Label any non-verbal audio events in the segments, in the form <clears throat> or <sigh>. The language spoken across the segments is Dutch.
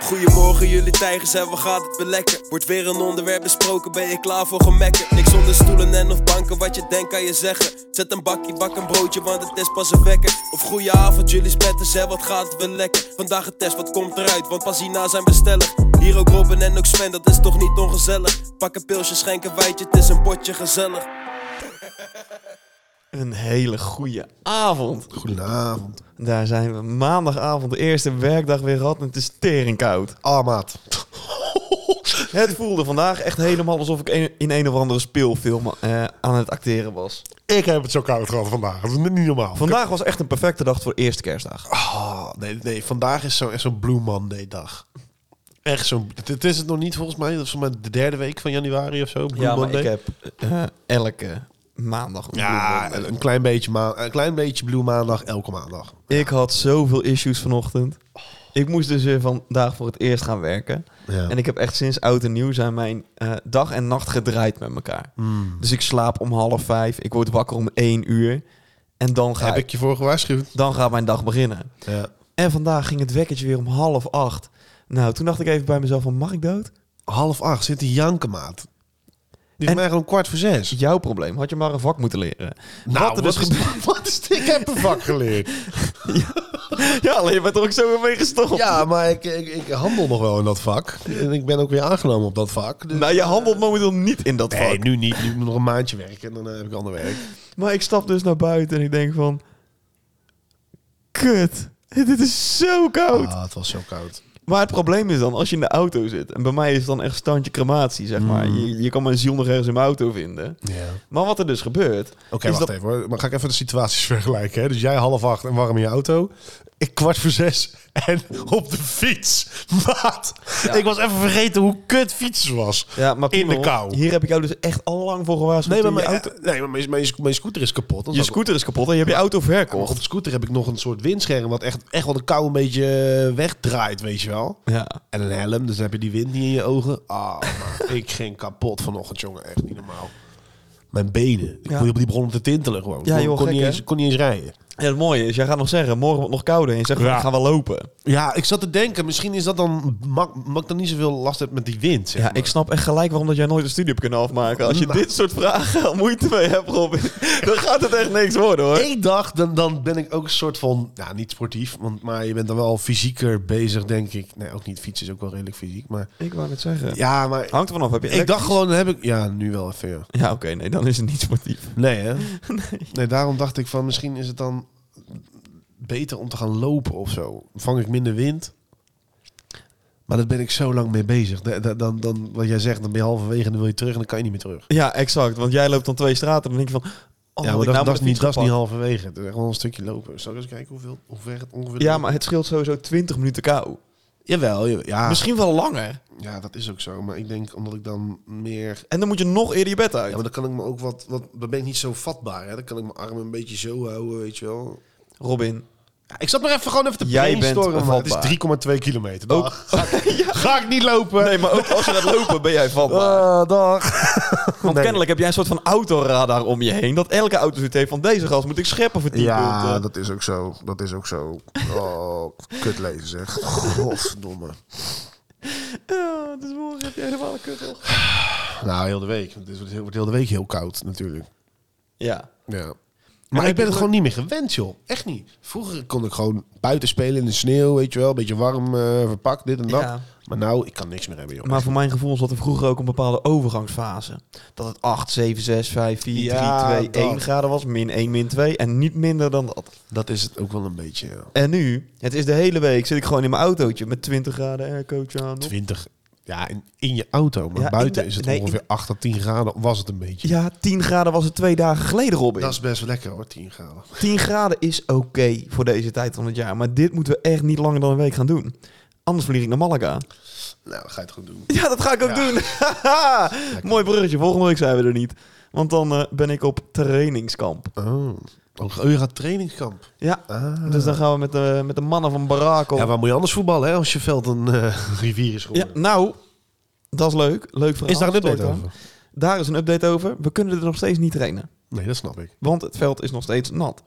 Goedemorgen jullie tijgers en wat gaat het weer lekker? Wordt weer een onderwerp besproken, ben je klaar voor gemekken? Niks onder stoelen en of banken, wat je denkt kan je zeggen Zet een bakje, bak een broodje, want het is pas een wekker Of goeie avond jullie spetters en wat gaat het weer lekker? Vandaag een test, wat komt eruit, want pas hierna zijn we stellig Hier ook Robin en ook Sven, dat is toch niet ongezellig? Pak een pilsje, schenk een wijtje, het is een potje gezellig Een hele goede avond. Goedenavond. Daar zijn we maandagavond, de eerste werkdag weer gehad en het is teringkoud. Ah, maat. Het voelde vandaag echt helemaal alsof ik een- in een of andere speelfilm eh, aan het acteren was. <laughs> Ik heb het zo koud gehad vandaag. Dat is niet normaal. Vandaag was echt een perfecte dag voor de eerste kerstdag. Ah, nee, nee, vandaag is zo- echt zo'n Blue Monday dag. Echt zo'n... Het, het is het nog niet volgens mij. Dat is volgens mij de derde week van januari of zo. Blue Monday. ik heb eh, elke maandag een ja, Blue Monday. een klein, beetje ma- een klein beetje Blue Maandag elke maandag. Ik had zoveel issues vanochtend. Ik moest dus weer vandaag voor het eerst gaan werken. Ja. En ik heb echt sinds oud en nieuw zijn mijn eh, dag en nacht gedraaid met elkaar. Hmm. Dus ik slaap om half vijf, ik word wakker om één uur. En dan, ga Heb ik, ik je voor gewaarschuwd? dan gaat mijn dag beginnen. Ja. En vandaag ging het wekkertje weer om half acht. Nou, toen dacht ik even bij mezelf van, mag ik dood? Half acht zit die janken, maat. Die is En- mij gewoon om kwart voor zes. Jouw probleem, had je maar een vak moeten leren. Nou, er dus is- <laughs> wat is dit? Ik heb een vak geleerd. Ja, alleen je bent er ook zo weer mee gestopt. <laughs> Ja, maar ik, ik, ik handel nog wel in dat vak. En ik ben ook weer aangenomen op dat vak. Dus... Nou, je handelt momenteel niet in dat Nee, vak. nu niet. Nu moet ik nog een maandje werken en dan eh, heb ik ander werk. Maar ik stap dus naar buiten en ik denk van... Kut, <laughs> dit is zo koud. Ah, het was zo koud. Maar het probleem is dan, als je in de auto zit... en bij mij is het dan echt standje crematie, zeg maar. Je, je kan mijn ziel nog ergens in mijn auto vinden. Mm. Ja. Maar wat er dus gebeurt... Oké, is wacht dat, even hoor. Maar ga ik even de situaties <laughs> vergelijken. Hè? Dus jij half acht en warm in je auto. Ik kwart voor zes en <laughs> op de fiets. Maat, ik was even vergeten hoe kut fietsen was. Ja, maar in de Piemel, kou. Hier heb ik jou dus echt al lang voor gewaarschuwd. Nee, maar eh, in je mijn, auto... eh, nee, maar mijn, mijn, mijn scooter is kapot. Je scooter is kapot en je hebt je auto Op verkocht. de scooter heb ik nog een soort windscherm... wat echt, echt wel de kou een beetje eh, wegdraait, weet je wel. Ja. En een helm, dus dan heb je die wind niet in je ogen. Ah, maar <laughs> ik ging kapot vanochtend, jongen. Echt niet normaal. Mijn benen. Ik Ja. ja. die begonnen te tintelen gewoon. Ik Ja, kon- joh, kon, gek, niet hè? eens, kon niet eens rijden. En het mooie is, jij gaat nog zeggen, morgen wordt het nog kouder. En je zegt, Ja. ik ga wel lopen. Ja, ik zat te denken, misschien is dat dan... mak- Mak ik dan niet zoveel last heb met die wind, zeg Ja, maar. Nou. ik snap echt gelijk waarom dat jij nooit een studie hebt kunnen afmaken. Als je dit soort vragen <laughs> al moeite mee hebt, Robin, <laughs> dan gaat het echt niks worden, hoor. Eén dag, dan, dan ben ik ook een soort van... Ja, niet sportief, want, maar je bent dan wel fysieker bezig, denk ik. Nee, ook niet. Fietsen is ook wel redelijk fysiek, maar... Ik wou het zeggen. Ja, maar... Hangt er vanaf. Heb je Ik dacht gewoon, dan heb ik... Ja, nu wel even, ja. Ja, oké, nee, dan is het niet sportief. Nee, <laughs> hè? Nee. daarom dacht ik van misschien is het dan beter om te gaan lopen of zo. Vang ik minder wind. Maar daar ben ik zo lang mee bezig. Da- da- Dan, dan, wat jij zegt, dan ben je halverwege en dan wil je terug en dan kan je niet meer terug. Ja, exact. Want jij loopt dan twee straten en dan denk je van... Oh, ja, had maar ik dat, nou dat, maar is de niet, fiets dat is niet gepakt? halverwege. Het is gewoon een stukje lopen. Zal ik eens kijken hoeveel, hoe ver het ongeveer Ja, is? maar het scheelt sowieso 20 minuten kou. Jawel, jawel, ja. Misschien wel langer. ja, dat is ook zo. Maar ik denk omdat ik dan meer... En dan moet je nog eerder je bed Ja, uit. maar dan kan ik me ook wat... wat dan ben ik niet zo vatbaar. Hè? Dan kan ik mijn armen een beetje zo houden, weet je wel. Robin. Ja, ik zat maar even gewoon even te Jij bent brainstormen. maar vatbaar. Het is 3,2 kilometer. Dag. Ook- <laughs> Ga, ik, ga ik niet lopen. Nee, maar ook als je gaat lopen ben jij <laughs> vatbaar. Ah, dag. Want nee. kennelijk heb jij een soort van autoradar om je heen. Dat elke auto zoiets heeft van deze gas moet ik scheppen voor 10 Ja, punten. dat is ook zo. Dat is ook zo. Oh, kut leven zeg. Godverdomme. Ja, dus morgen heb je helemaal een kuttel. Nou, heel de week. Het is- het wordt heel de week heel koud natuurlijk. Ja. Ja. Maar Maar ik ik ben heb- het gewoon niet meer gewend, joh. Echt niet. Vroeger kon ik gewoon buiten spelen in de sneeuw, weet je wel. Beetje warm eh, verpakt, dit en dat. Ja. Maar nou, ik kan niks meer hebben, joh. Maar voor mijn gevoel zat er vroeger ook een bepaalde overgangsfase. Dat het 8, 7, 6, 5, 4, Ja, 3, 2, 1 dat. graden was. Min 1, min 2. En niet minder dan dat. Dat is het ook wel een beetje, ja. En nu, het is de hele week, zit ik gewoon in mijn autootje met 20 graden aircootje aan. op. 20. Ja, in, in je auto. Maar Ja, in buiten de- is het nee, in- ongeveer 8 tot 10 graden. Was het een beetje. Ja, 10 graden was het twee dagen geleden, Robin. Dat is best lekker hoor, 10 graden. <laughs> 10 graden is oké voor deze tijd van het jaar. Maar dit moeten we echt niet langer dan een week gaan doen. Anders vlieg ik naar Malaga. <laughs> Nou, dat ga je het goed doen. Ja, dat ga ik ook doen. <laughs> Haha. Mooi bruggetje. Volgende week zijn we er niet. Want dan eh, ben ik op trainingskamp. Oh, oh je gaat trainingskamp. Ah. Ja, dus dan gaan we met de, met de mannen van Barakel. Ja, Ja, waar moet je anders voetballen hè, als je veld een eh, <laughs> rivier is geworden? nou, dat is leuk. Leuk verhaal. is daar een update Stort aan. over? Daar is een update over. We kunnen er nog steeds niet trainen. Nee, dat snap ik. Want het veld is nog steeds nat.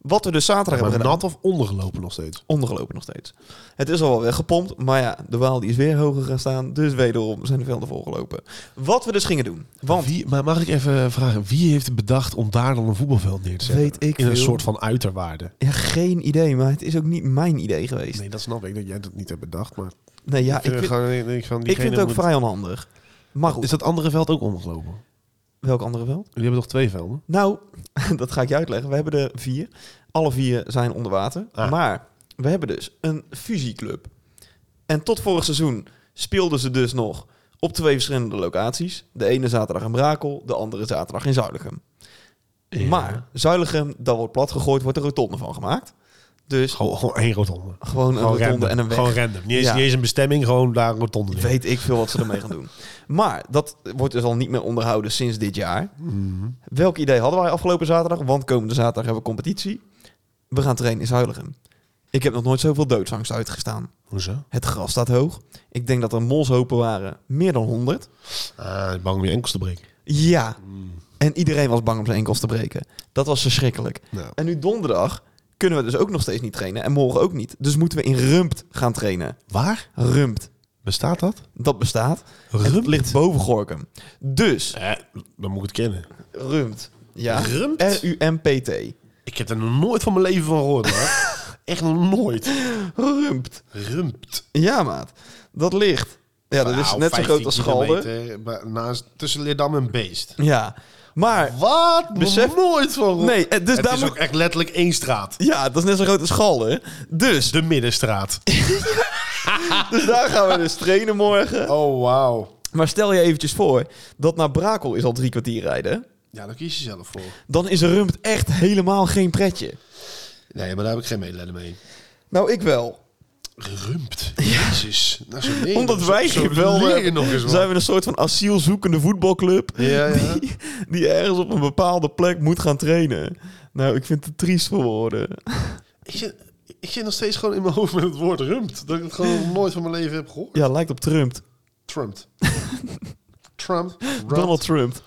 Wat we dus zaterdag hebben Maar gedaan. nat of ondergelopen nog steeds. Ondergelopen nog steeds. Het is al wel weer gepompt, maar ja, de Waal die is weer hoger gaan staan. Dus wederom zijn de velden volgelopen. Wat we dus gingen doen. Want Wie, maar mag ik even vragen, wie heeft het bedacht om daar dan een voetbalveld neer te zetten? Weet ik In een veel. soort van uiterwaarde. ja, geen idee, maar het is ook niet mijn idee geweest. Nee, Nee, dat snap ik, dat jij dat niet hebt bedacht. Maar ja, ik vind vind, gewoon- ik denk van, ik diegene vind het ook moet- vrij onhandig. Maar goed, Is dat andere veld ook omgelopen? welk andere veld? Jullie hebben toch twee velden? Nou, <laughs> dat ga ik je uitleggen. We hebben er vier. Alle vier zijn onder water. Ah. Maar we hebben dus een fusieclub. En tot vorig seizoen speelden ze dus nog op twee verschillende locaties. De ene zaterdag in Brakel, de andere zaterdag in Zuilichem. Maar Zuilichem, dat wordt plat gegooid, wordt er rotonde van gemaakt. Dus Gewoon, gewoon één rotonde. gewoon een Gewoon rotonde random. en een weg. Gewoon random. Niet eens, Ja. niet eens een bestemming, gewoon daar een rotonde. neer. Weet ik veel wat ze ermee gaan doen. Maar dat wordt dus al niet meer onderhouden sinds dit jaar. Mhm. Welk idee hadden wij afgelopen zaterdag? Want komende zaterdag hebben we competitie. We gaan trainen in Zuilichem. Ik heb nog nooit zoveel doodsangst uitgestaan. Hoezo? Het gras staat hoog. Ik denk dat er molshopen waren. Meer dan 100. Ah, bang om je enkels te breken. Ja. Mhm. En iedereen was bang om zijn enkels te breken. Dat was verschrikkelijk. Nou. En nu donderdag kunnen we dus ook nog steeds niet trainen. En morgen ook niet. Dus moeten we in Rumpt gaan trainen. Waar? Rumpt. Bestaat dat? Dat bestaat. En dat Rumpt? ligt boven Gorkum. Dus, Eh, dan moet ik het kennen. Rumpt. Ja. Rumpt? R-U-M-P-T. Ik heb er nog nooit van mijn leven van gehoord, hoor. <laughs> Echt nog nooit. Rumpt. Rumpt. Ja, maat. Dat ligt. Ja, dat is Nou, net zo 15 groot als Schalde. kilometer, maar Naast, tussen Leerdam en Beest. Ja. Maar, Wat? Besef- Besef nooit van gehoord. nee, eh, dus Het daar is moet... ook echt letterlijk één straat. Ja, dat is net zo groot als Schalde. Dus, De middenstraat. dus daar gaan we dus trainen morgen. <laughs> Oh, wauw. Maar stel je eventjes voor dat naar Brakel is al drie kwartier rijden. Ja, daar kies je zelf voor. Dan is Rumpt echt helemaal geen pretje. Nee, maar daar heb ik geen medelijden mee. Nou, ik wel. Gerumpt. Jezus. Nou, zo leer je Omdat nog- zo- wij zo hier <laughs> wel leer je hebben, nog eens wat. zijn we een soort van asielzoekende voetbalclub. Ja, ja. Die, die ergens op een bepaalde plek moet gaan trainen. Nou, ik vind het triest voor woorden. Ik zit, ik zit nog steeds gewoon in mijn hoofd met het woord rumpt. Dat ik het gewoon <laughs> nog nooit van mijn leven heb gehoord. Ja, lijkt op Trump. Trumpt. Trump. Rumpt. Donald Trump.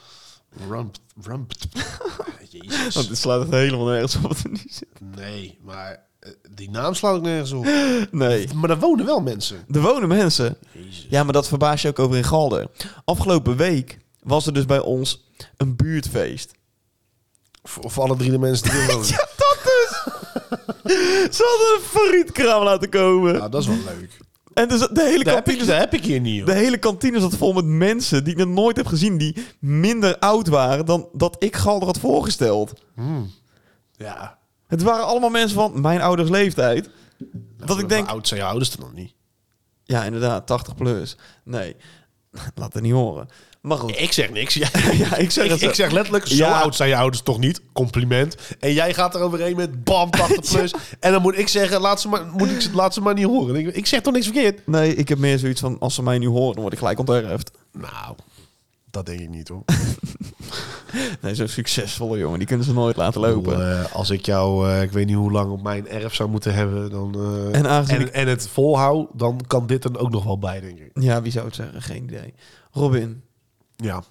Rumpt. Rumpt. Want Ah, Jezus. Oh, dit slaat het helemaal nergens op wat er nu zit. Nee, maar eh, die naam slaat ik nergens op. Nee. Maar daar wonen wel mensen. Er wonen mensen. Jezus. Ja, maar dat verbaas je ook over in Galder. Afgelopen week was er dus bij ons een buurtfeest. Voor, voor alle drie de mensen die er wonen. <laughs> Ja, dat dus! Ze hadden een frietkraam laten komen. Nou, dat is wel leuk. En dus de hele Dat heb kantine ik, dat heb ik hier niet, De hoor. hele kantine zat vol met mensen die ik nog nooit heb gezien. Die minder oud waren dan dat ik Galder had voorgesteld. Ja. Het waren allemaal mensen van mijn ouders leeftijd. Dat ik denk... Hoe oud zijn je ouders dan nog niet? Ja, inderdaad, 80 plus. Nee, <laughs> laat het niet horen. Maar goed. <laughs> Ik zeg niks. Jij, Ja, ik zeg ik, het ik zeg letterlijk, zo Ja. oud zijn je ouders toch niet? Compliment. En jij gaat er overheen met bam, <laughs> 80 plus. En dan moet ik zeggen, laat ze maar, moet ik, ze- laat ze maar niet horen. Ik, ik zeg toch niks verkeerd? Nee, ik heb meer zoiets van... als ze mij nu horen, dan word ik gelijk onterfd. Nou, dat denk ik niet hoor. Nee, zo'n succesvolle jongen. Die kunnen ze nooit laten lopen. als ik jou, eh, ik weet niet hoe lang, op mijn erf zou moeten hebben... Dan, eh, En aangezien ik- en, en het volhou, dan kan dit er ook nog wel bij, denk ik. Ja, wie zou het zeggen? Geen idee. Robin, Ja.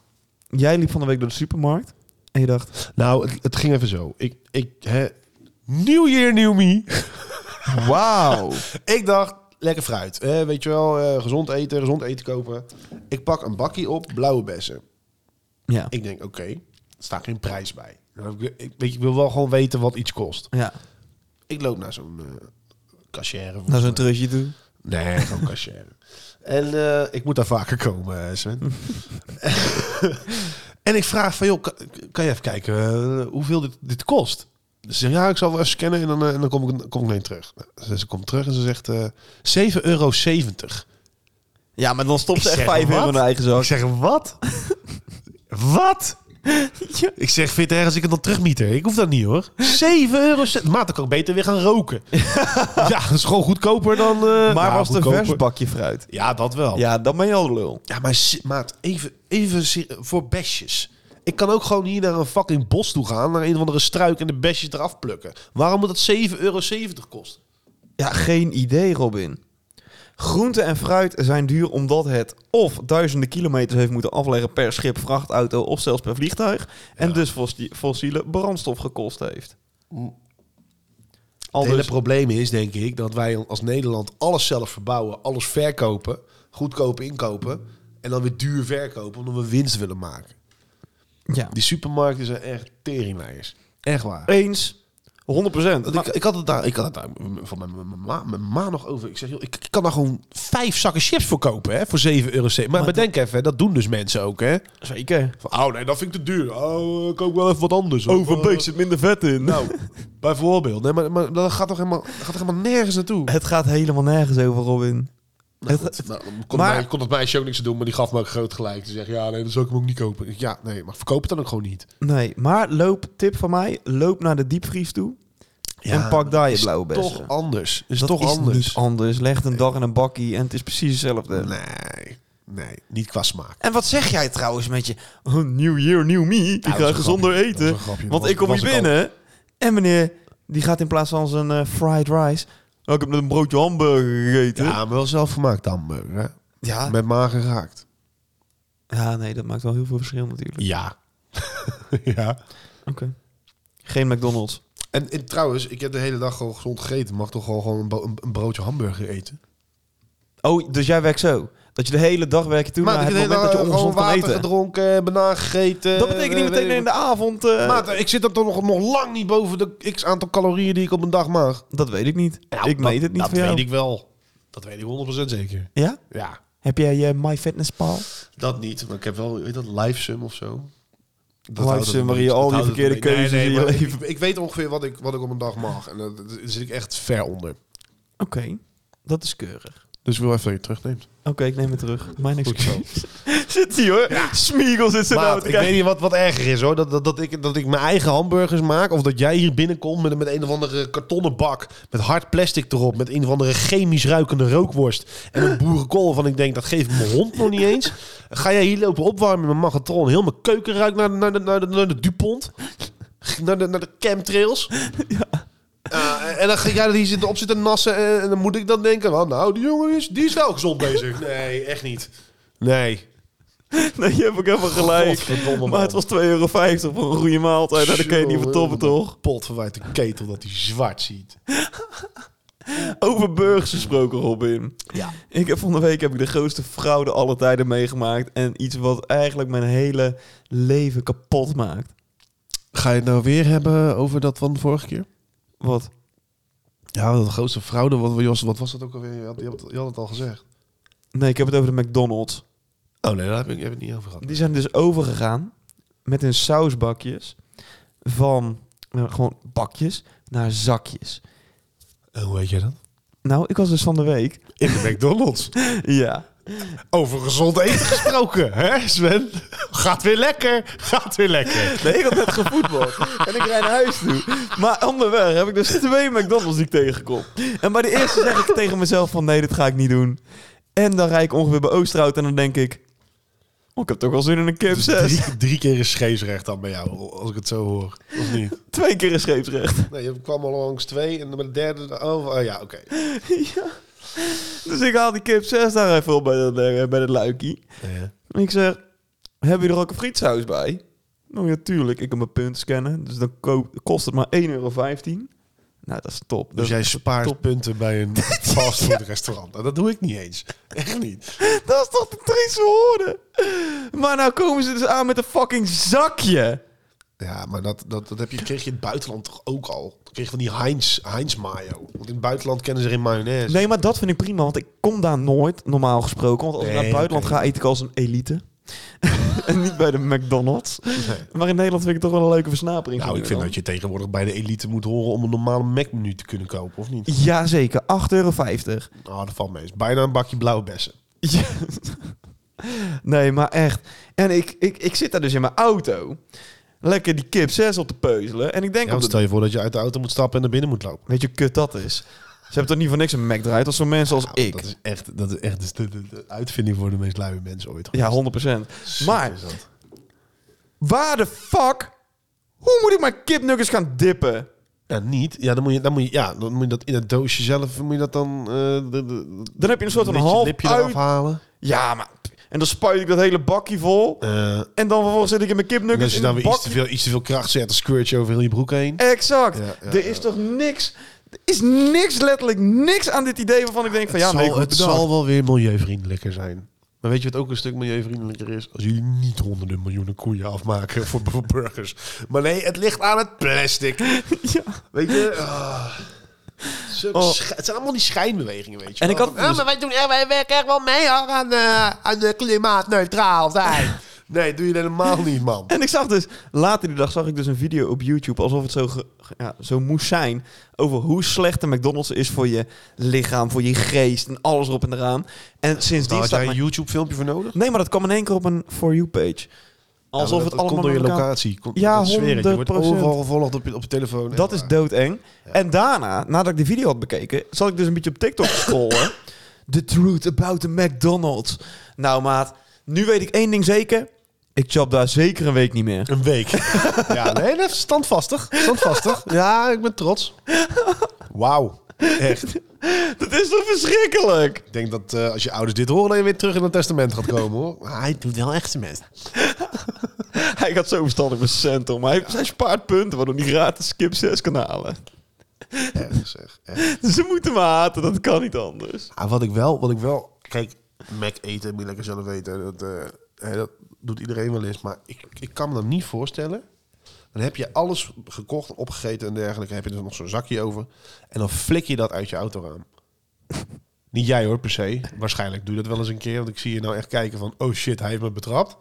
jij liep van de week door de supermarkt. En je dacht... <laughs> Nou, het, het ging even zo. Ik, ik, hè, new year, new me. Wauw. Ik dacht, lekker fruit. Eh, weet je wel, eh, gezond eten, gezond eten kopen. Ik pak een bakkie op, blauwe bessen. ja. Ik denk, oké, er staat geen prijs bij. Dan heb Ik, ik, weet je, ik wil wel gewoon weten wat iets kost. ja. Ik loop naar zo'n eh cashier. eh, Naar zo'n trusje toe. Nee, gewoon cashier. En eh, ik moet daar vaker komen, eh, Sven. en ik vraag van, joh, kan, kan je even kijken eh, hoeveel dit, dit kost? Ze zegt, ja, ik zal wel even scannen en dan, eh, en dan kom, ik, kom ik mee terug. Nou, ze, ze komt terug en ze zegt eh 7,70 euro. Ja, maar dan stopt ze Ik echt zeg, 5 euro wat? in haar eigen Ik zak. zeg, wat? wat? Ja. Ik zeg, vind ergens ik het dan terugmieter? Ik hoef dat niet hoor. 7 euro. cent. Maat, dan kan ik beter weer gaan roken. ja, dat is gewoon goedkoper dan... eh, Maar nou, was het een goedkoper. vers bakje fruit? Ja, dat wel. Ja, Ja, dan ben je al de lul. maar si- maat, even, even si- voor besjes. Ik kan ook gewoon hier naar een fucking bos toe gaan, naar een of andere struik en de besjes eraf plukken. Waarom moet dat 7,70 euro kosten? Ja, geen idee, Robin. Groente en fruit zijn duur omdat het of duizenden kilometers heeft moeten afleggen per schip, vrachtauto of zelfs per vliegtuig. En dus fossi- fossiele brandstof gekost heeft. Al het hele dus- probleem is, denk ik, dat wij als Nederland alles zelf verbouwen, alles verkopen, goedkoop inkopen en dan weer duur verkopen omdat we winst willen maken. ja. Die supermarkten zijn echt teringlijers. Echt waar. Eens. 100 Want ik, ik had het daar, ik had het daar m- van mijn, mijn, ma, mijn ma nog over. Ik zeg, joh, ik, ik kan daar gewoon vijf zakken chips voor kopen, hè, voor 7 euro. Maar, maar bedenk even, hè, dat doen dus mensen ook, hè? Zeker. Van, oh nee, dat vind ik te duur. Oh, ik koop wel even wat anders. hoor. Overbeek Eh, zit minder vet in. nou, <laughs> bijvoorbeeld. Nee, maar, maar dat gaat toch helemaal, dat gaat toch helemaal nergens naartoe? Het gaat helemaal nergens over, Robin. het, Nou, dan kon, Maar- mij, kon dat meisje ook niks aan doen, maar die gaf me ook groot gelijk. Die zegt, ja, nee, dat zou ik hem ook niet kopen. Ik, Ja, nee, maar verkoop het dan ook gewoon niet. nee, maar loop, tip van mij, loop naar de diepvries toe en pak daar je blauwe bessen. Toch anders. Is dus Dat toch is anders. niet anders. Leg een dag in een bakkie en het is precies hetzelfde. nee, nee, niet qua smaak. En wat zeg jij trouwens met je oh, New Year, New Me? Ik Nou, dat is ga een gezonder grapje. Dat eten, is een grapje. Dat want was- ik kom was hier ik al. binnen. En meneer, die gaat in plaats van zijn eh, fried rice... Oh, ik heb net een broodje hamburger gegeten. Ja, maar wel zelf gemaakt hamburger, hè? ja. Met maag geraakt. Ja, nee, dat maakt wel heel veel verschil natuurlijk. Ja. <laughs> ja. Oké. Geen McDonald's. En, en trouwens, ik heb de hele dag gewoon gezond gegeten. Mag toch wel gewoon een, bo- een- een broodje hamburger eten? Oh, dus jij werkt zo? Dat je de hele dag werkt toe naar het moment dat je gewoon ongezond kan water eten. gedronken, eh, banaan gegeten. dat betekent niet meteen in de avond... eh, Maat, ik zit dan toch nog, nog lang niet boven de x aantal calorieën die ik op een dag mag. dat weet ik niet. ik meet het niet Nou, Dat voor jou. weet ik wel. Dat weet ik 100% zeker. Ja? Ja, Heb jij je MyFitnessPal? dat niet. Maar ik heb wel, weet dat, LiveSum of zo. Live houdt Sum, het waarin je een al die beetje- dat houdt verkeerde het een beetje- keuzes in je <laughs> maar Ik, ik weet ongeveer wat ik, wat ik op een dag mag. En eh, daar zit ik echt ver onder. Oké, dat is keurig. Dus ik wil even dat je het terugneemt. Oké, ik neem het terug. Mijn Goed zo. excuus. <laughs> zit hij hoor. Smiegel zit zo nou Maat, te ik weet kijken. niet wat, wat erger is hoor. Dat, dat, dat, ik, dat ik mijn eigen hamburgers maak. Of dat jij hier binnenkomt met, met een of andere kartonnen bak. Met hard plastic erop. Met een of andere chemisch ruikende rookworst. En een boerenkool van ik denk dat geef ik mijn hond nog niet eens. Ga jij hier lopen opwarmen met mijn magatron. Heel mijn keuken ruikt naar, naar, de, naar, de, naar de Dupont. Naar de, naar de chemtrails. Eh, en dan ga jij er hier zitten op zitten nassen. En, en dan moet ik dan denken. "Wel, nou, die jongen is, die is wel gezond bezig. Nee, echt niet. Nee. Nee, je hebt ook helemaal gelijk. Godverdomme, man. Maar het was 2,50 euro voor een goede maaltijd. Nou, dat kan je niet vertoppen toch? Pot verwijt de ketel dat hij zwart ziet. Over burgers gesproken, Robin. Ja. Ik heb van de week heb ik de grootste fraude alle tijden meegemaakt. En iets wat eigenlijk mijn hele leven kapot maakt. Ga je het nou weer hebben over dat van de vorige keer? Wat? Ja, de grootste fraude. Wat, Jos, wat was dat ook alweer? Je had, je had, je had het al gezegd. Nee, ik heb het over de McDonald's. Oh nee, daar heb ik, heb ik het niet over gehad. Die zijn dus overgegaan met hun sausbakjes van eh, gewoon bakjes naar zakjes. En hoe weet jij dat? Nou, ik was dus van de week. <laughs> In de McDonald's. Ja. <laughs> Over gezond eten gesproken, hè Sven? Gaat weer lekker. Gaat weer lekker. Nee, ik had net gevoetbald. <laughs> en ik rijd naar huis toe. Maar onderweg heb ik dus <laughs> twee McDonald's die ik tegenkom. En bij de eerste zeg ik tegen mezelf van... Nee, dit ga ik niet doen. En dan rijd ik ongeveer bij Oosterhout en dan denk ik... Oh, ik heb toch wel zin in een kip 6. Drie, drie keer is scheepsrecht dan bij jou, als ik het zo hoor. Of niet? Twee keer een scheepsrecht. <laughs> Nee, je kwam al langs twee en dan bij de derde... Oh, oh ja, oké. ja. Dus ik haal die kip 6 daar even op bij dat, eh, bij dat luikie. Ja. En ik zeg, heb je er ook een frietsaus bij? Nou ja, tuurlijk. Ik kan mijn punt scannen. Dus dan ko- kost het maar 1,15 euro. Nou, dat is top. Dat Dus is jij spaart top. punten bij een fastfoodrestaurant. Nou, Dat doe ik niet eens. Echt niet. <laughs> Dat is toch de trieste hoorde? Maar nou komen ze dus aan met een fucking zakje. Ja, maar dat, dat, dat heb je, kreeg je in het buitenland toch ook al? Dan kreeg je van die Heinz, Heinz mayo. Want in het buitenland kennen ze geen mayonaise. Nee, maar dat vind ik prima, want ik kom daar nooit, normaal gesproken. Want als ik Nee, naar het buitenland oké. ga, eet ik als een elite. <laughs> en niet bij de McDonald's. Nee. Maar in Nederland vind ik het toch wel een leuke versnapering. Nou, ik vind dat je tegenwoordig bij de elite moet horen om een normale Mac-menu te kunnen kopen, of niet? Jazeker, 8,50 euro. Nou, dat valt mee. Is bijna een bakje blauwe bessen. <laughs> Ja. Nee, maar echt. En ik, ik, ik zit daar dus in mijn auto. Lekker die kip 6 op te peuzelen. En ik denk Ja, op want de stel je voor dat je uit de auto moet stappen en naar binnen moet lopen. Weet je hoe kut dat is? Ze hebben toch niet voor niks een Mac draait als zo'n mensen als Nou, ik. Dat is echt, dat is echt dus de, de- de uitvinding voor de meest luie mensen ooit. Ja, 100%. Maar waar de fuck? Hoe moet ik mijn kipnuggets gaan dippen? Ja, niet. Ja, dan moet je, dan moet je, ja, dan moet je dat in het doosje zelf, moet je dat dan... eh, de, de, Dan heb je een soort van beetje half lipje uit... eraf halen. Ja, maar... En dan spuit ik dat hele bakje vol. Eh, En dan vervolgens zit ik in mijn en als kipnuggets je in dan een weer iets te, bakje. veel, iets te veel kracht zet, dan squirt je over heel je broek heen. Exact. Ja, ja, er ja. is toch niks... Er is niks, letterlijk niks aan dit idee waarvan ik denk van... ja, het nee, zal, goed, het bedankt. zal wel weer milieuvriendelijker zijn. Maar weet je wat ook een stuk milieuvriendelijker is? Als jullie niet honderden miljoenen koeien afmaken voor, voor burgers. Maar nee, het ligt aan het <laughs> plastic. <laughs> Ja. Weet je? ah. Zulke Oh. schi- het zijn allemaal die schijnbewegingen, weet je. En wel. ik had Van, het dus- "Ah, maar wij, doen, eh, wij werken echt wel mee hoor, aan, eh, aan de <laughs> klimaatneutraal zijn. nee, doe je helemaal niet, man. En ik zag dus, later die dag zag ik dus een video op YouTube, alsof het zo, ge- ge- ja, zo moest zijn, over hoe slecht de McDonald's is voor je lichaam, voor je geest en alles erop en eraan. En sindsdien Nou, Had staat jij een mijn- YouTube-filmpje voor nodig? Nee, maar dat kwam in één keer op een For You-page. Alsof Ja, maar het dat- dat allemaal komt door je met elkaar- locatie. Komt, Ja, dat zweer ik. Je wordt 100%. overal gevolgd op je, op je telefoon. Dat En- is doodeng. En daarna, nadat ik de video had bekeken, zat ik dus een beetje op TikTok te scrollen. <laughs> The truth about the McDonald's. Nou maat, nu weet ik één ding zeker. Ik chap daar zeker een week niet <laughs> meer. Een <laughs> week. ja, nee, dat is standvastig. Standvastig. Ja, ik ben trots. Wauw. Echt. Dat is toch verschrikkelijk? Ik denk dat eh, als je ouders dit horen, dat je weer terug in het testament gaat komen, hoor. Ah, Hij doet wel echt zijn best. Hij gaat zo verstandig met zijn cent om. maar Hij, hij spaart punten waardoor hij gratis skip 6 kan halen. Echt, zeg. Echt. Dus <laughs> ze moeten me haten, dat kan niet anders. Ah, wat ik wel, wat ik wel... Kijk, Mac eten moet je lekker zelf weten. Dat, eh, hè, dat doet iedereen wel eens. Maar ik, ik kan me dat niet voorstellen. Dan heb je alles gekocht, en opgegeten en dergelijke. Heb je er nog zo'n zakje over. En dan flik je dat uit je autoraam. <laughs> Niet jij hoor, per se. Waarschijnlijk doe je dat wel eens een keer. Want ik zie je nou echt kijken van... Oh shit, hij heeft me betrapt.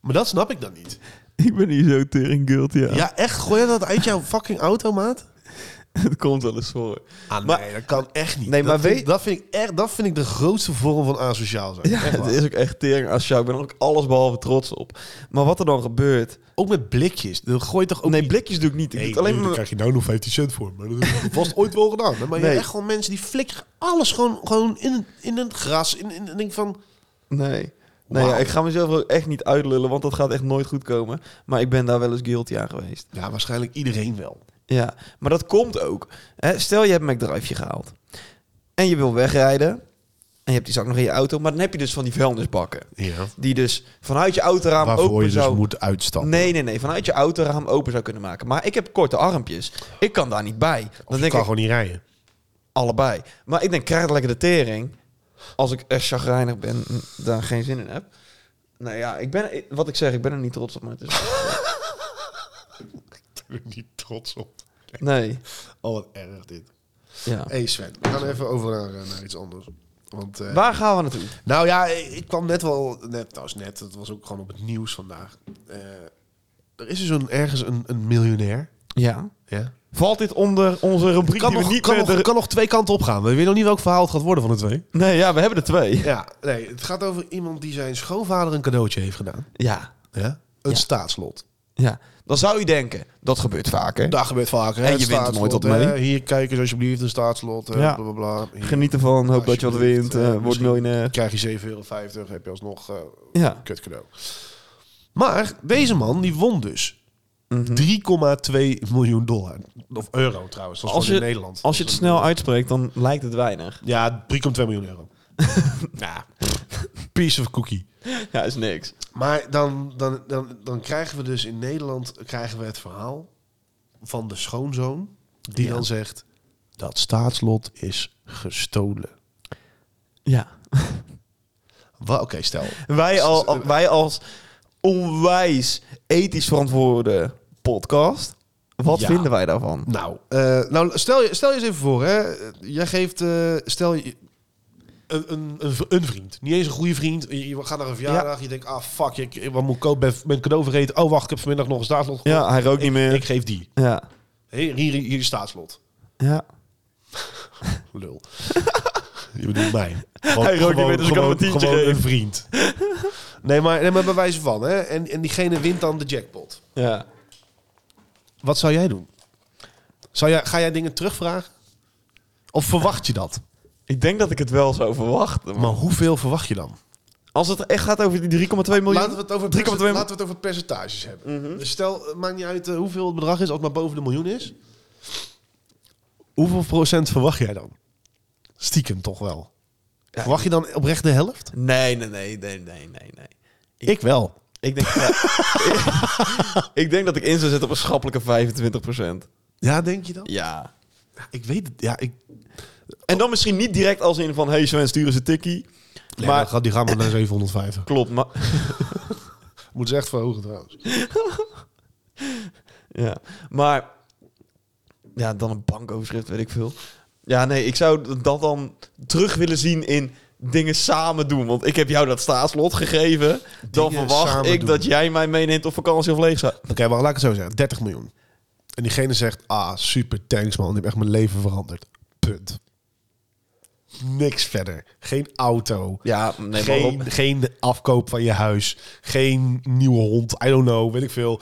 Maar dat snap ik dan niet. Ik ben hier zo tering guilt, ja. Ja, echt? Gooi je dat uit jouw fucking <laughs> automaat? Het komt wel eens voor. Ah, Maar- nee, dat kan echt niet. Nee, dat maar vind, weet- dat vind ik echt... Dat vind ik de grootste vorm van asociaal zijn. Ja, Echt het waar. is ook echt tering als jou. Ik ben er ook alles behalve trots op. Maar wat er dan gebeurt... Ook met blikjes. Dan gooi je toch ook nee, niet- blikjes doe ik niet. Ik Nee, doe het alleen nee, maar... daar krijg je nou nog 15 cent voor. Maar dat <laughs> is vast ooit wel gedaan. hè? Maar Nee. je hebt echt gewoon mensen die flikkeren alles gewoon, gewoon in, het, in het gras. In, in, en denk van... Nee. Nee, Wauw. ja, ik ga mezelf ook echt niet uitlullen, want dat gaat echt nooit goed komen. Maar ik ben daar wel eens guilty aan geweest. Ja, waarschijnlijk iedereen wel. Ja, maar dat komt ook. Hè, stel je hebt een McDriveje gehaald. En je wil wegrijden. En je hebt die zak nog in je auto. Maar dan heb je dus van die vuilnisbakken. Ja. Die dus vanuit je autoraam open zou... dus moet uitstappen. nee, nee, nee. Vanuit je autoraam open zou kunnen maken. Maar ik heb korte armpjes. Ik kan daar niet bij. Dan denk ik, niet <laughs> rijden. allebei. Maar ik denk, krijg het lekker de tering. Als ik echt chagrijnig ben, en daar geen zin in heb. Nou ja, ik ben, ik- wat ik zeg, ik ben er niet trots op. Maar het <laughs> is, Ik ben er niet trots op. nee. Oh, wat erg dit. Ja. hey Sven, we gaan even over naar, eh, naar iets anders. Want, eh, Waar gaan we naartoe? nou ja, ik kwam net wel... Net, trouwens net, dat was ook gewoon op het nieuws vandaag. Eh, er is dus een, ergens een, een miljonair. Ja. Ja. Valt dit onder onze rubriek Kan die nog, we niet kan, meer... nog, kan nog twee kanten op gaan. We weten nog niet welk verhaal het gaat worden van de twee. Nee, ja, we hebben er twee. Ja, nee, het gaat over iemand die zijn schoonvader een cadeautje heeft gedaan. Ja. Ja? Een Ja. staatslot. Ja. Dan zou je denken, dat gebeurt vaker. Daar gebeurt vaker. En hè, je wint er nooit staatslot, wat mee. hè. Hier, kijk eens alsjeblieft, een staatslot. eh, hè, Ja. blablabla. Hier Geniet ervan, hoop dat je wat Alsjeblieft, wint, eh, eh, wordt misschien- miljonair. krijg je 7,50 euro, heb je alsnog eh Ja. kut cadeau. Maar deze man, die won dus. Mhm. 3,2 miljoen dollar. Of euro trouwens, dat is Als gewoon je- in Nederland. Als je het snel uitspreekt, dan lijkt het weinig. Ja, 3,2 miljoen euro. ja, piece of cookie. <laughs> Ja, is niks. Maar dan, dan, dan, dan krijgen we dus in Nederland krijgen we het verhaal van de schoonzoon. Die Ja. dan zegt, dat staatslot is gestolen. Ja. Wa- Oké, stel. Wij, al, al- wij als onwijs ethisch verantwoorde podcast, wat Ja. vinden wij daarvan? Nou, eh, nou stel, je, stel je eens even voor. Hè. Jij geeft, eh, stel je... Een, een, een v- een vriend. Niet eens een goede vriend. Je je gaat naar een verjaardag. Je denkt, ah fuck, ik, ik- wat moet ik kopen? Ben, ben cadeau vergeten. Oh wacht, ik heb vanmiddag nog een staatslot gekocht. Ja, hij rookt niet meer. Ik geef die. Ja. Hé, hier, hier, hier is staatslot. Ja. Lul. <laughs> Je bedoelt mij. Hij rookt niet meer, dus ik kan hem een tientje gewoon geven. een vriend. Nee maar, nee, maar bij wijze van. Hè? En, en diegene wint dan de jackpot. Ja. Wat zou jij doen? Zou jij, ga jij dingen terugvragen? Of verwacht je dat? Ik denk dat ik het wel zou verwachten. Maar Maar hoeveel verwacht je dan? als het echt gaat over die 3,2 miljoen... Mhm. Laten we het over, perce- 3,2 laten we het over percentages hebben. Dus stel, het maakt niet uit eh, hoeveel het bedrag is, als het maar boven de miljoen is. Hoeveel procent verwacht jij dan? Stiekem toch wel. verwacht je dan oprecht de helft? Nee, nee, nee, nee, nee, nee, nee. Ik, wel. Ik <laughs> denk, ja, ik, ik denk dat ik in zou zetten op een schappelijke 25%. Ja, denk je dan? Ja. Ja, Ik weet het. Ja, ik, En dan misschien niet direct als in van... hey Sven, stuur eens een tikkie. maar maar, die gaan maar naar <laughs> 750. klopt, maar... Moet ze echt verhogen trouwens. Ja, maar... Ja, dan een bankoverschrift, weet ik veel. Ja, nee, ik zou dat dan terug willen zien in dingen samen doen. Want ik heb jou dat staatslot gegeven. dan Dingen verwacht samen ik doen. dat jij mij meeneemt op vakantie of leegzaam. Oké, maar laat ik het zo zeggen. 30 miljoen. En diegene zegt, ah, super, thanks man. Die heeft echt mijn leven veranderd. Punt. Niks verder. Geen auto. Ja, nee, maar geen, geen afkoop van je huis. Geen nieuwe hond. I don't know, weet ik veel.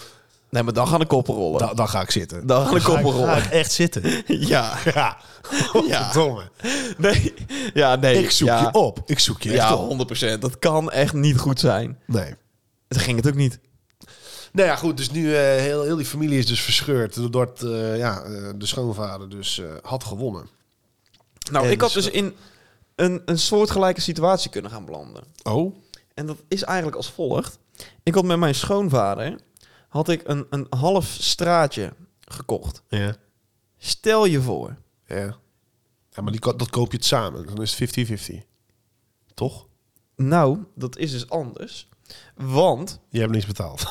Nee, maar dan gaan de koppen rollen. Da- dan ga ik zitten. Dan gaan de ga ik, koppen ga rollen. ik echt zitten. <laughs> Ja, <laughs> Ja. <laughs> Ja. Verdomme. nee. Ja, nee. Ik zoek ja. je op. Ik zoek je echt Ja, op. 100%. Dat kan echt niet goed zijn. Nee. Dat ging het ook niet. Nou ja, goed. Dus nu eh, heel, heel die familie is dus verscheurd. Doordat eh, ja, eh, de schoonvader dus eh, had gewonnen. Nou, En ik had dus dus in een, een soortgelijke situatie kunnen gaan belanden. Oh? En dat is eigenlijk als volgt. Ik had met mijn schoonvader had ik een, een half straatje gekocht. Ja. Stel je voor. Ja. Ja, maar die, ko- dat koop je het samen. dus Dan is het 50-50. Toch? Nou, dat is dus anders. Want Je hebt niks betaald.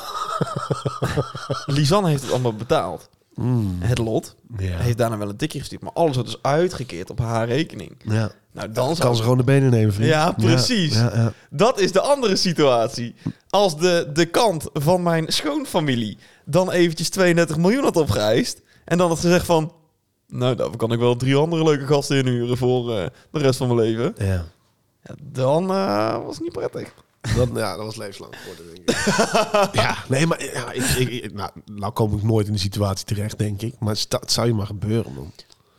Lisanne heeft het allemaal betaald. Mm. Het lot Ja. <laughs> heeft daarna wel een tikje gestuurd. Maar alles wordt dus uitgekeerd op haar rekening. ja. Nou, dan Kan zou ze gewoon de benen nemen, vriend. Ja, precies. Ja, ja. Dat is de andere situatie. Als de, de kant van mijn schoonfamilie dan eventjes 32 miljoen had opgeëist... en dan had gezegd van... nou, daarvoor kan ik wel drie andere leuke gasten inhuren voor eh, de rest van mijn leven... ja. Ja, dan eh, was het niet prettig. Dat, ja, dat was levenslang geworden, denk ik. <laughs> ja, nee, maar ja, ik, ik, ik- nou, nou kom ik nooit in die situatie terecht, denk ik. Maar het, zou je maar gebeuren, man.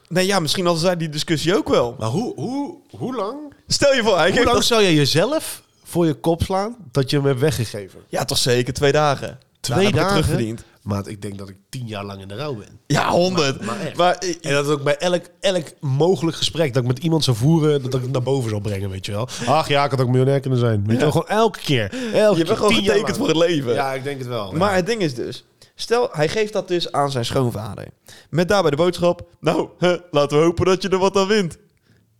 Nee, ja, misschien hadden zij die discussie ook wel. Maar hoe, hoe, hoe lang, Stel je voor, hij hoe geeft lang dat- zou je jezelf voor je kop slaan dat je hem hebt weggegeven? Nou, Ja, toch zeker, twee dagen. Daarna heb ik het terugverdiend. Maar ik denk dat ik tien jaar lang in de rouw ben. Ja, honderd. maar Maar, echt. En dat het ook bij elk, elk mogelijk gesprek dat ik met iemand zou voeren, dat ik het naar boven zou brengen, weet je wel. Ach ja, ik had ook miljonair kunnen zijn. Weet je wel, gewoon elke keer. Elke je keer, bent gewoon tien jaar getekend voor lang. het leven. Ja, ik denk het wel. Maar het ding is dus, stel hij geeft dat dus aan zijn schoonvader. Met daarbij de boodschap, nou, hè, laten we hopen dat je er wat aan wint.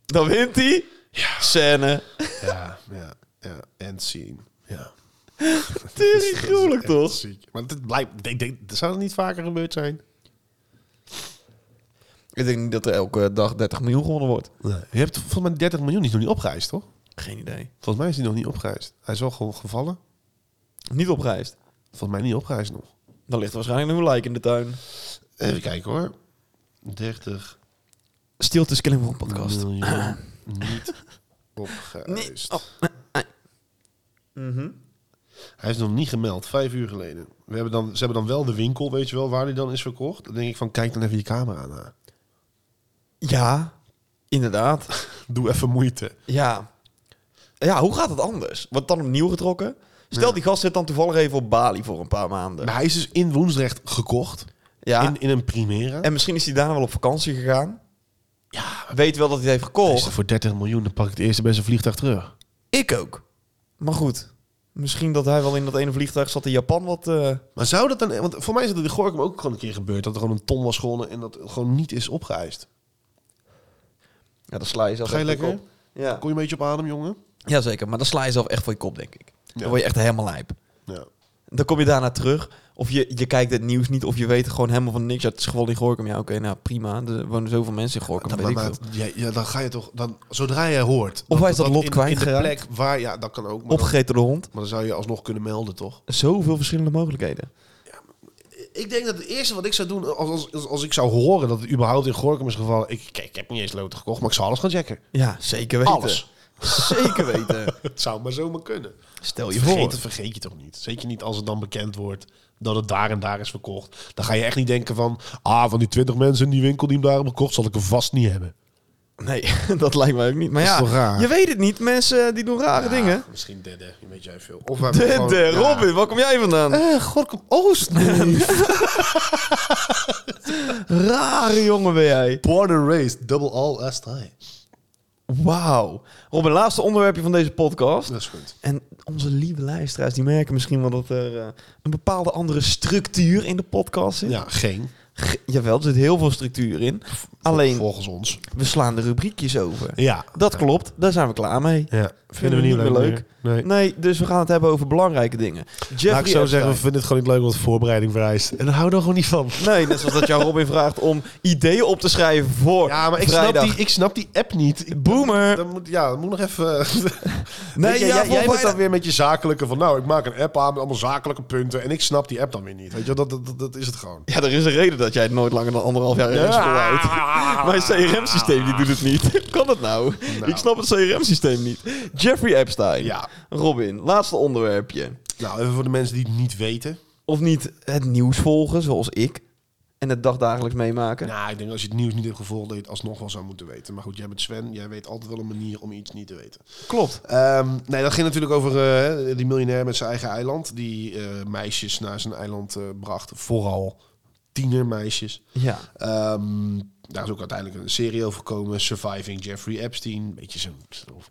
Dan wint hij. Scène. Ja, ja, ja. En zien. Ja. Tering gruwelijk Dat is echt toch? ziek. Maar dit blijft, ik denk, zou het niet vaker gebeurd zijn? Ik denk niet dat er elke dag 30 miljoen gewonnen wordt. Je hebt volgens mij 30 miljoen, die is nog niet opgeëist, toch? Geen idee. Volgens mij is die nog niet opgeëist. Hij is wel gewoon gevallen. Niet opgeëist. Volgens mij niet opgeëist nog. Dan ligt waarschijnlijk een lijk in de tuin. Even kijken hoor. 30 Stiltes Killing voor een podcast. <clears throat> miljoen niet opgeëist. Nee. Mhm. Hij is nog niet gemeld, vijf uur geleden. We hebben dan, ze hebben dan wel de winkel, weet je wel, waar die dan is verkocht. Dan denk ik van, kijk dan even je camera na. Ja, inderdaad. Doe even moeite. Ja. Ja, hoe gaat het anders? Wordt dan opnieuw getrokken? Stel, die gast zit dan toevallig even op Bali voor een paar maanden. Maar hij is dus in Woensdrecht gekocht. ja. In, in een Primera. En misschien is hij daarna wel op vakantie gegaan. Ja. Weet wel dat hij het heeft Is gekocht. het voor 30 miljoen, dan pak ik het eerste beste vliegtuig terug. Ik ook. Maar goed. Misschien dat hij wel in dat ene vliegtuig zat in Japan wat... eh, Maar zou dat dan... Want voor mij is het in Gorkum ook gewoon een keer gebeurd. Dat er gewoon een ton was gewonnen en dat gewoon niet is opgeëist. Ja, dan sla je zelf Ga je echt voor lekker? kop. Ja. Kon je een beetje op adem, jongen? Jazeker, maar dan sla je zelf echt voor je kop, denk ik. Ja. Dan word je echt helemaal lijp. Ja. Dan kom je daarna terug. Of je, je kijkt het nieuws niet, of je weet gewoon helemaal van niks. Ja, het is gewoon in Gorkum. Ja, oké, nou prima. Er wonen zoveel mensen in Gorkum, Dan, weet maar, ik veel. maar- ja, ja, dan ga je toch... Dan, zodra je hoort... Of hij is dat lot in, in de kwijtgeraakt. plek waar... Ja, dat kan ook. Maar, dan, Opgegeten door de hond. maar dan zou je alsnog kunnen melden, toch? Zoveel verschillende mogelijkheden. Ik denk dat het eerste wat ik zou doen... Als, als, als, als ik zou horen dat het überhaupt in Gorkum is gevallen... Ik, kijk, ik heb niet eens loten gekocht, maar ik zou alles gaan checken. Ja, zeker weten. Alles. Zeker weten. <laughs> Het zou maar zomaar kunnen. <laughs> Stel je Stel Oh, je vergeten voor. vergeet je toch niet. Zeker niet als het dan bekend wordt dat het daar en daar is verkocht. Dan ga je echt niet denken van... Ah, van die 20 mensen in die winkel die hem daar hebben gekocht... zal ik hem vast niet hebben. Nee, <laughs> dat lijkt mij ook niet. Maar Dat is ja, toch raar? je weet het niet. Mensen eh, die doen rare dingen. Misschien derde, weet jij veel. Of we De, de Robin, waar kom jij vandaan? Oh, Eh, Gorkum Oost. Rare jongen ben jij. <laughs> Born and raised, double all last time. Wauw. Robin, laatste onderwerpje van deze podcast. Dat is goed. En onze lieve luisteraars, die merken misschien wel dat er eh, een bepaalde andere structuur in de podcast zit. Ja, geen. G- Jawel, er zit heel veel structuur in. Alleen, Volgens ons. we slaan de rubriekjes over. Ja. Dat klopt, daar zijn we klaar mee. Ja. Vinden we niet meer leuk. meer. Nee. Nee, dus we gaan het hebben over belangrijke dingen. Jeffrey Laat ik zo zeggen, we Epstein. vinden het gewoon niet leuk wat voorbereiding vereist. En daar hou dan gewoon niet van. Nee, net zoals dat jou Robin vraagt om ideeën op te schrijven voor Ja, maar ik snap, vrijdag. die, ik snap die app niet. Ik- Boomer! Dan moet, ja, dan moet nog even... <laughs> Nee, Weet je, ja, jij, voor jij bent vrijdag- dan weer met je zakelijke van... Nou, ik maak een app aan met allemaal zakelijke punten. En ik snap die app dan weer niet. Weet je, dat, dat, dat, dat is het gewoon. Ja, er is een reden dat jij het nooit langer dan anderhalf jaar hebt volhoudt. <laughs> Mijn CRM-systeem die doet het niet. <laughs> Hoe kan dat nou? Ik snap het CRM-systeem niet. Jeffrey Epstein. Ja. Robin, laatste onderwerpje. Nou, even voor de mensen die het niet weten. Of niet het nieuws volgen, zoals ik. En het dagdagelijks meemaken. Nou, ik denk als je het nieuws niet hebt gevolgd... dat je het alsnog wel zou moeten weten. Maar goed, jij bent Sven. Jij weet altijd wel een manier om iets niet te weten. Klopt. Ehm, nee, dat ging natuurlijk over eh, die miljonair met zijn eigen eiland. Die eh, meisjes naar zijn eiland eh, bracht. Vooral tienermeisjes. Ja. Ehm, daar is ook uiteindelijk een serie over gekomen. Surviving Jeffrey Epstein. Beetje zo'n zo'n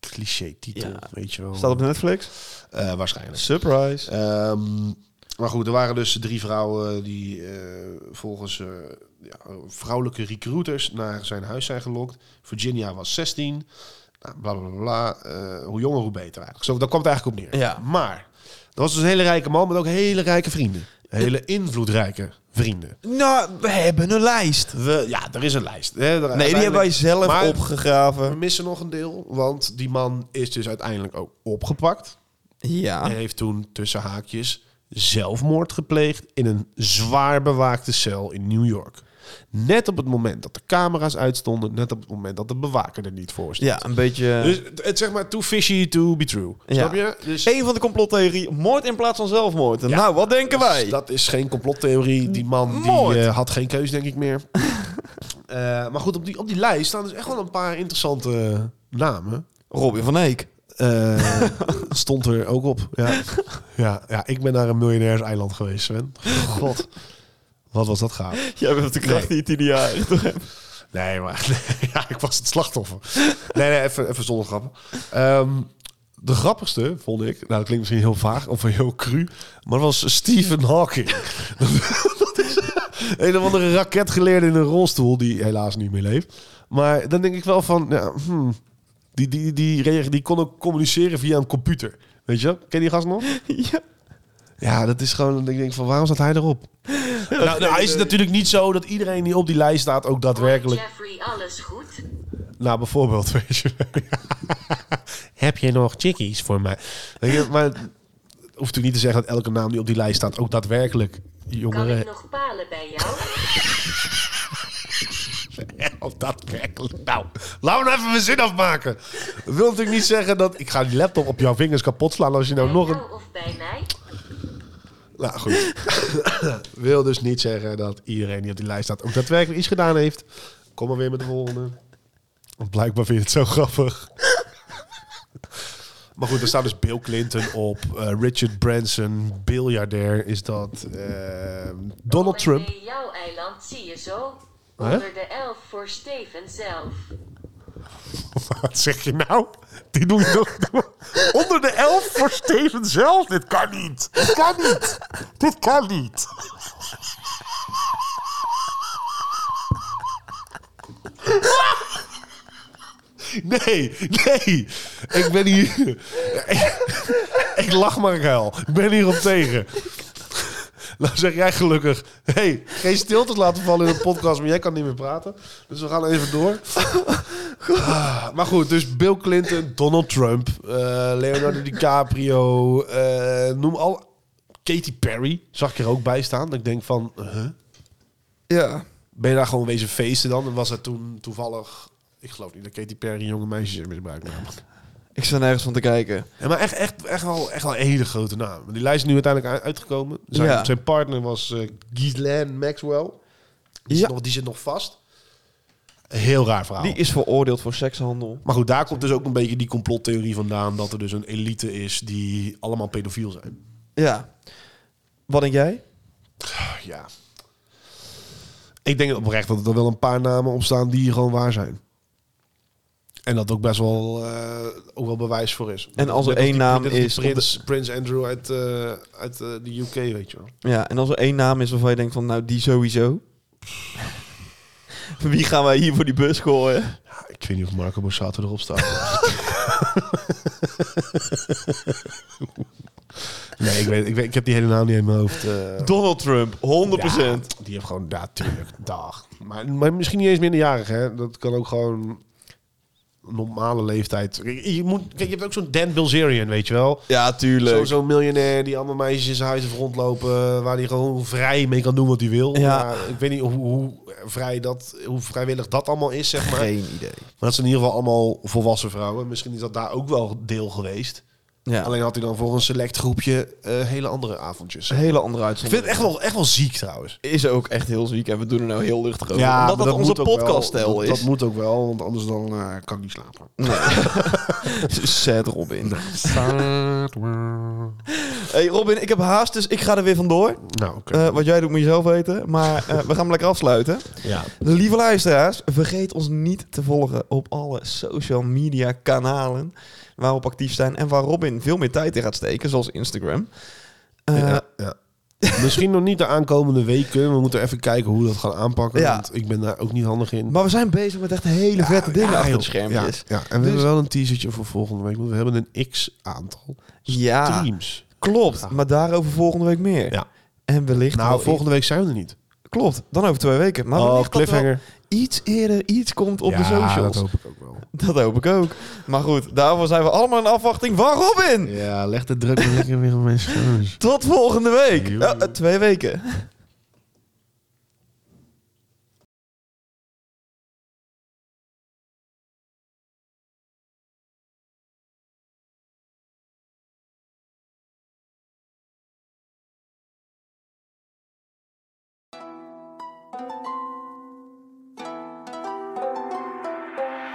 cliché titel, Ja. weet je wel. Staat op Netflix? Eh, waarschijnlijk. Surprise. Ehm, maar goed, er waren dus drie vrouwen die eh, volgens eh, ja, vrouwelijke recruiters naar zijn huis zijn gelokt. Virginia was 16. Nou, bla bla bla. bla. Eh, hoe jonger, hoe beter eigenlijk. Zo, daar kwam het eigenlijk op neer. Ja. Maar, dat was dus een hele rijke man met ook hele rijke vrienden. Hele invloedrijke vrienden. Nou, we hebben een lijst. We, ja, er is een lijst. Hè, er- Nee, die uiteindelijk- hebben wij zelf Maar- We opgegraven. missen nog een deel, want die man is dus uiteindelijk ook opgepakt. Ja. En heeft toen tussen haakjes zelfmoord gepleegd in een zwaar bewaakte cel in New York. Net op het moment dat de camera's uitstonden, net op het moment dat de bewaker er niet voor stond. Ja, een beetje... Dus het- het zeg maar too fishy to be true. Ja. Snap je? Dus een van de complottheorie, moord in plaats van zelfmoord. nou, wat denken wij? Dus dat is geen complottheorie. Die man die, Moord. eh, had geen keus, denk ik meer. <laughs> Eh, maar goed, op die, op die lijst staan dus echt wel een paar interessante namen. Robin van Eek. Eh, <laughs> stond er ook op. Ja. Ja, ja, ik ben naar een miljonairs-eiland geweest, Sven. God, wat was dat gaaf. Jij bent de kracht die het in jaar Nee, maar <laughs> ja, ik was het slachtoffer. Nee, nee even, even zonder grappen. Ehm, de grappigste vond ik, nou dat klinkt misschien heel vaag of heel cru, maar dat was Stephen Hawking. <laughs> dat is een of andere raketgeleerde in een rolstoel die helaas niet meer leeft. Maar dan denk ik wel van, ja, hmm, die, die, die, die, die kon ook communiceren via een computer. Weet je, wel? ken je die gast nog? <laughs> ja. Ja, dat is gewoon. dat Ik denk van waarom staat hij erop? Nou, nou is het natuurlijk niet zo dat iedereen die op die lijst staat ook daadwerkelijk. Jeffrey, alles goed? Nou, bijvoorbeeld, <laughs> weet je. Heb je nog chickies voor mij? Weet je, maar het hoeft natuurlijk niet te zeggen dat elke naam die op die lijst staat ook daadwerkelijk Kan ik <laughs> jongeren. nog palen bij jou? Of Oh, daadwerkelijk. Nou, laten we nou even mijn zin afmaken. Dat wil natuurlijk niet zeggen dat ik ga die laptop op jouw vingers kapot slaan als je nou bij nog een. jou of bij mij? Nou goed. <laughs> Wil dus niet zeggen dat iedereen die op die lijst staat ook daadwerkelijk iets gedaan heeft. Kom maar weer met de volgende. Want blijkbaar vind je het zo grappig. <laughs> maar goed, er staat dus Bill Clinton op. eh, Richard Branson, biljardair is dat. eh, Donald En Trump. bij jouw eiland zie je zo. Hè? Onder de elf voor Steven zelf. <laughs> Wat zeg je nou? Die doen nog onder de elf voor Steven zelf. Dit kan niet. Dit kan niet. Dit kan niet. Nee, nee. Ik ben hier... Ik, ik lach maar ik huil. Ik ben hierop tegen. Nou zeg jij gelukkig... hey, geen stiltes laten vallen in de podcast... maar jij kan niet meer praten. Dus we gaan even door. Ah, maar goed, dus Bill Clinton, Donald Trump, eh, Leonardo DiCaprio, eh, noem al. Katy Perry zag ik er ook bij staan. Dat ik denk van, huh? Ja. ben je daar gewoon wezen feesten dan? En was het toen toevallig, ik geloof niet dat Katy Perry jonge meisjes in misbruikt namelijk. Ik sta nergens van te kijken. Ja, maar echt, echt, echt, wel, echt wel een hele grote naam. Die lijst is nu uiteindelijk u- uitgekomen. Zijn, Ja. zijn partner was eh Ghislaine Maxwell. Ja. Die, zit nog, die zit nog vast. Heel raar verhaal. Die is veroordeeld voor sekshandel. Maar goed, daar komt dus ook een beetje die complottheorie vandaan dat er dus een elite is die allemaal pedofiel zijn. Ja. Wat denk jij? Ja. Ik denk oprecht dat er wel een paar namen op staan die gewoon waar zijn. En dat ook best wel, eh, ook wel bewijs voor is. En als er Net één die- naam net als die is op Prins, Prins Andrew uit, eh, uit eh, de UK, weet je wel. Ja, en als er één naam is waarvan je denkt van, nou, die sowieso. <laughs> Wie gaan wij hier voor die bus gooien? Ja, ik weet niet of Marco Borsato erop staat. <laughs> nee, ik, weet, ik, weet, ik heb die hele naam niet in mijn hoofd. eh. Donald Trump, 100%. Ja, die heeft gewoon, ja, tuurlijk, <laughs> dag. Maar, maar misschien niet eens minderjarig, hè. Dat kan ook gewoon normale leeftijd. Kijk, Je, moet, kijk, je hebt ook zo'n Dan Bilzerian, weet je wel. Ja, Zo- tuurlijk. Zo'n miljonair die allemaal meisjes in zijn huis heeft rondlopen... waar hij gewoon vrij mee kan doen wat hij wil. Ja. Maar ik weet niet hoe, hoe, vrij dat, hoe vrijwillig dat allemaal is, zeg maar. Geen idee. Maar dat zijn in ieder geval allemaal volwassen vrouwen. Misschien is dat daar ook wel deel geweest. Ja. Alleen had hij dan voor een select groepje eh, hele andere avondjes. een hele andere Ik vind uitzondering. het echt wel, echt wel ziek trouwens. Is ook echt heel ziek en we doen er nou heel luchtig over. maar Omdat dat, onze moet ook wel. podcaststijl Dat- is. Dat <laughs> moet ook wel, want anders dan eh, kan ik niet <laughs> slapen. Sad <laughs> Robin. Hey Robin, ik heb haast, dus ik ga er weer vandoor. Nou, oké. Eh, wat jij doet moet je zelf weten. Maar eh, we gaan hem lekker afsluiten. ja. Lieve luisteraars, vergeet ons niet te volgen op alle social media kanalen waarop actief zijn en waar Robin veel meer tijd in gaat steken, zoals Instagram. Eh, ja, <laughs> ja. Misschien nog niet de aankomende weken. We moeten even kijken hoe we dat gaan aanpakken. Ja. Want ik ben daar ook niet handig in. Maar we zijn bezig met echt hele vette dingen achter joh. de schermpjes. Ja, ja. en we Dus- hebben wel een teasertje voor volgende week. Want we hebben een x-aantal Ja, streams. klopt. Ja. Maar daarover volgende week meer. Ja. En wellicht. wel Nou, i- volgende week zijn we er niet. Klopt, dan over twee weken. Maar wellicht dat er wel iets eerder iets komt op de socials. Oh, dat hoop ik ook wel. Dat hoop ik ook. Maar goed, daarvoor zijn we allemaal in afwachting van Robin. Ja, leg de druk maar lekker weer op mijn schouders. Tot volgende week. Joe. Eh, eh, twee weken.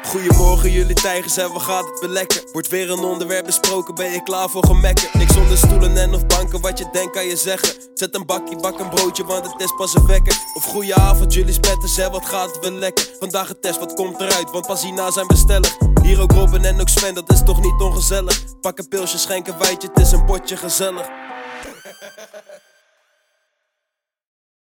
Goedemorgen jullie tijgers en wat gaat het weer lekker? Wordt weer een onderwerp besproken, ben je klaar voor gemekken? Niks zonder stoelen en of banken, wat je denkt kan je zeggen Zet een bakkie, bak een broodje, want het is pas een wekker Of goeie avond jullie spetters en wat gaat het weer lekker? Vandaag een test, wat komt eruit, want pas hierna zijn we stellig Hier ook Robin en ook Sven, dat is toch niet ongezellig? Pak een pilsje, schenk een wijtje, het is een potje gezellig